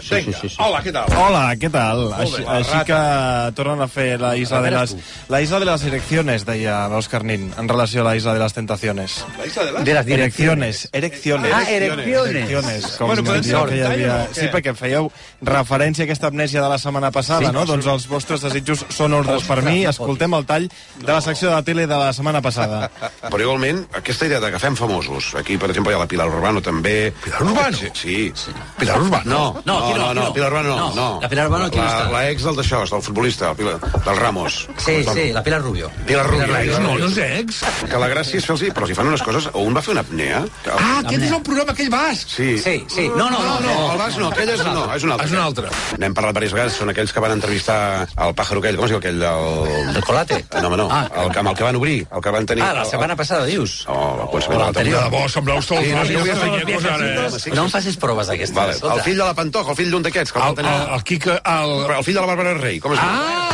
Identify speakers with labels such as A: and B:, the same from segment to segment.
A: Sí,
B: Vinga,
A: sí, sí, sí.
B: hola, què tal?
A: Hola, què tal?
B: bé.
A: Així,
B: La
A: així
B: rata.
A: que tornen a fer la isla de
B: veres
A: les... La isla de les erecciones, deia Òscar Nin, en relació a la isla de les tentaciones.
B: La isla
C: eh?
B: de
D: De
B: les...
D: las direcciones.
A: Erecciones, erecciones.
D: Ah, erecciones.
A: Erecciones, com
B: Bueno,
A: bueno,
B: podem
A: diria
B: dir
A: que hi havia...
B: tall o què?
A: Sí, perquè fèieu referència a aquesta amnèsia de la setmana
D: Sí,
A: passada, no? Doncs els vostres desitjos són ordres per mi. Escoltem el tall de la secció de la tele de la setmana passada.
C: Però igualment, aquesta idea de que fem famosos, aquí, per exemple, hi ha la Pilar Urbano, també...
E: Pilar Urbano?
C: Sí, sí. sí.
E: Pilar Urbano.
C: No,
D: No, aquí no,
C: no,
D: aquí no.
C: Pilar Urbano no,
D: No,
C: no.
D: la Pilar Urbano aquí no
C: la,
D: està.
C: La ex del d'això, del futbolista, el Pilar, del Ramos. Doncs
D: Sí, sí, la Pilar Rubio.
C: Pilar Rubio.
E: Ex, no, no és ex.
C: Que la gràcia és fer-los... Però si fan unes coses... O un va fer una apnea... Que...
E: Ah, aquest és el programa aquell basc.
C: Sí.
D: Sí, sí. No, no, no.
C: No, el Bas no, aquell és, no, és un altre.
E: És un altre.
C: N'hem parlat diverses vegades, són aquells que van entrevistar el pàjaro aquell, com es diu aquell del...
D: El colate.
C: Eh, No, home, no,
D: Ah.
C: el, amb el que van obrir, el que van tenir...
D: Ah, la setmana Oh, passada, dius?
C: No, el començament de la
E: De
D: l'anterior.
C: temporada.
E: debò, sembleu sols.
C: Sí, no, sí,
E: no,
C: ja
E: no,
C: sabia
E: no, no,
C: sí,
D: No
C: sí.
D: em facis proves d'aquestes.
C: Vale,
D: escolta. Ah,
C: el fill de la Pantoja, el fill d'un d'aquests. que el
E: el,
C: van tenir-
E: el, el Quique... El...
C: Però el fill de la Bàrbara Rey, com es diu?
E: Ah!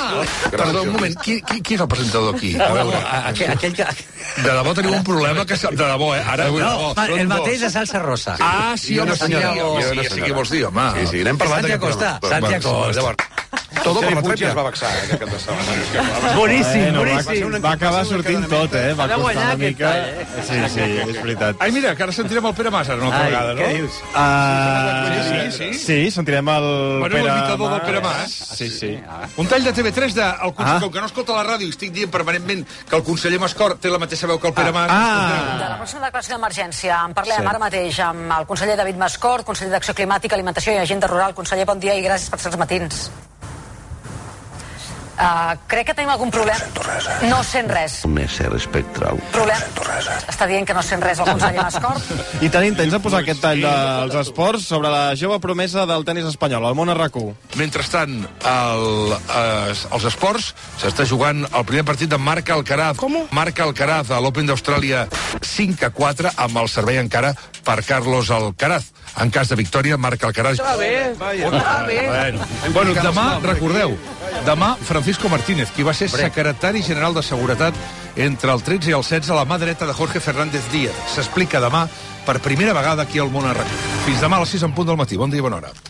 E: Perdó, un moment. Qui, qui, qui és el presentador aquí? A
D: No,
E: veure.
C: Ah,
D: a- aquell, aquell que...
E: De debò teniu un problema que... se- De debò, eh? Ara, de
D: No,
E: debò,
D: ma-
E: són
D: Ah, el
E: dos.
D: mateix de Salsa Rosa.
E: Ah, sí,
C: I una
E: home, sí,
C: senyora,
E: o-
C: i una
E: sí, sí,
C: senyora.
E: que vols dir, home.
C: Sí, sí, n'hem parlat
D: Santi
C: d'aquest
D: Acosta,
C: programa.
D: Santi
C: Bueno,
D: Acosta.
C: Llavors, tot per la trèpia. Es va vexar, eh, aquest cap de setmana.
D: Boníssim,
A: Bueno, va,
D: boníssim.
A: va acabar sortint tot, eh? Va
F: Ha de
A: costar
F: guanyar
A: una
F: aquest
A: mica...
F: tall, eh?
A: Sí, sí, és veritat.
E: Ai, mira, que ara sentirem el Pere Mas, ara, una altra
D: Ai,
E: vegada, no?
D: què dius?
A: Uh,
E: Sí, sí.
A: sí, sentirem el
E: Bueno,
A: Pere
E: l'imitador del
A: Mas. Ah,
E: Pere Mas.
A: Sí, sí.
E: Un tall de TV3 de... El conseller,
A: Ah.
E: Com que no escolta la ràdio i estic dient permanentment que el conseller Mascor té la mateixa veu que el Pere Mas.
A: Ah!
G: De la pròxima declaració d'emergència en parlem
A: Sí.
G: ara mateix amb el conseller David Mascort, conseller d'Acció Climàtica, Alimentació i Agenda Rural. Conseller, bon dia i gràcies per ser els matins. Uh, crec que tenim algun problema. No sento res. eh? No eh? sent res.
H: un ésser espectral.
G: Problema. Està dient que no sent res el conseller Mascort.
A: I tenim temps de
E: Doncs
A: posar aquest tall dels esports sobre la jove promesa del tennis espanyol, el món arracú.
E: Mentrestant, el, eh, als esports s'està jugant el primer partit de Marc Alcaraz. Com? Marc Alcaraz a l'Open d'Austràlia 5 a 4 amb el servei encara per Carlos Alcaraz. En cas de victòria, Marc Alcaraz... Està bé, està bé. Bueno, bueno demà, recordeu, demà Francisco Martínez, qui va ser secretari general de Seguretat entre el 13 i el 16 a la mà dreta de Jorge Fernández Díaz. S'explica demà per primera vegada aquí al món arreu. Fins demà a les 6 en punt del matí. Bon dia i bona hora.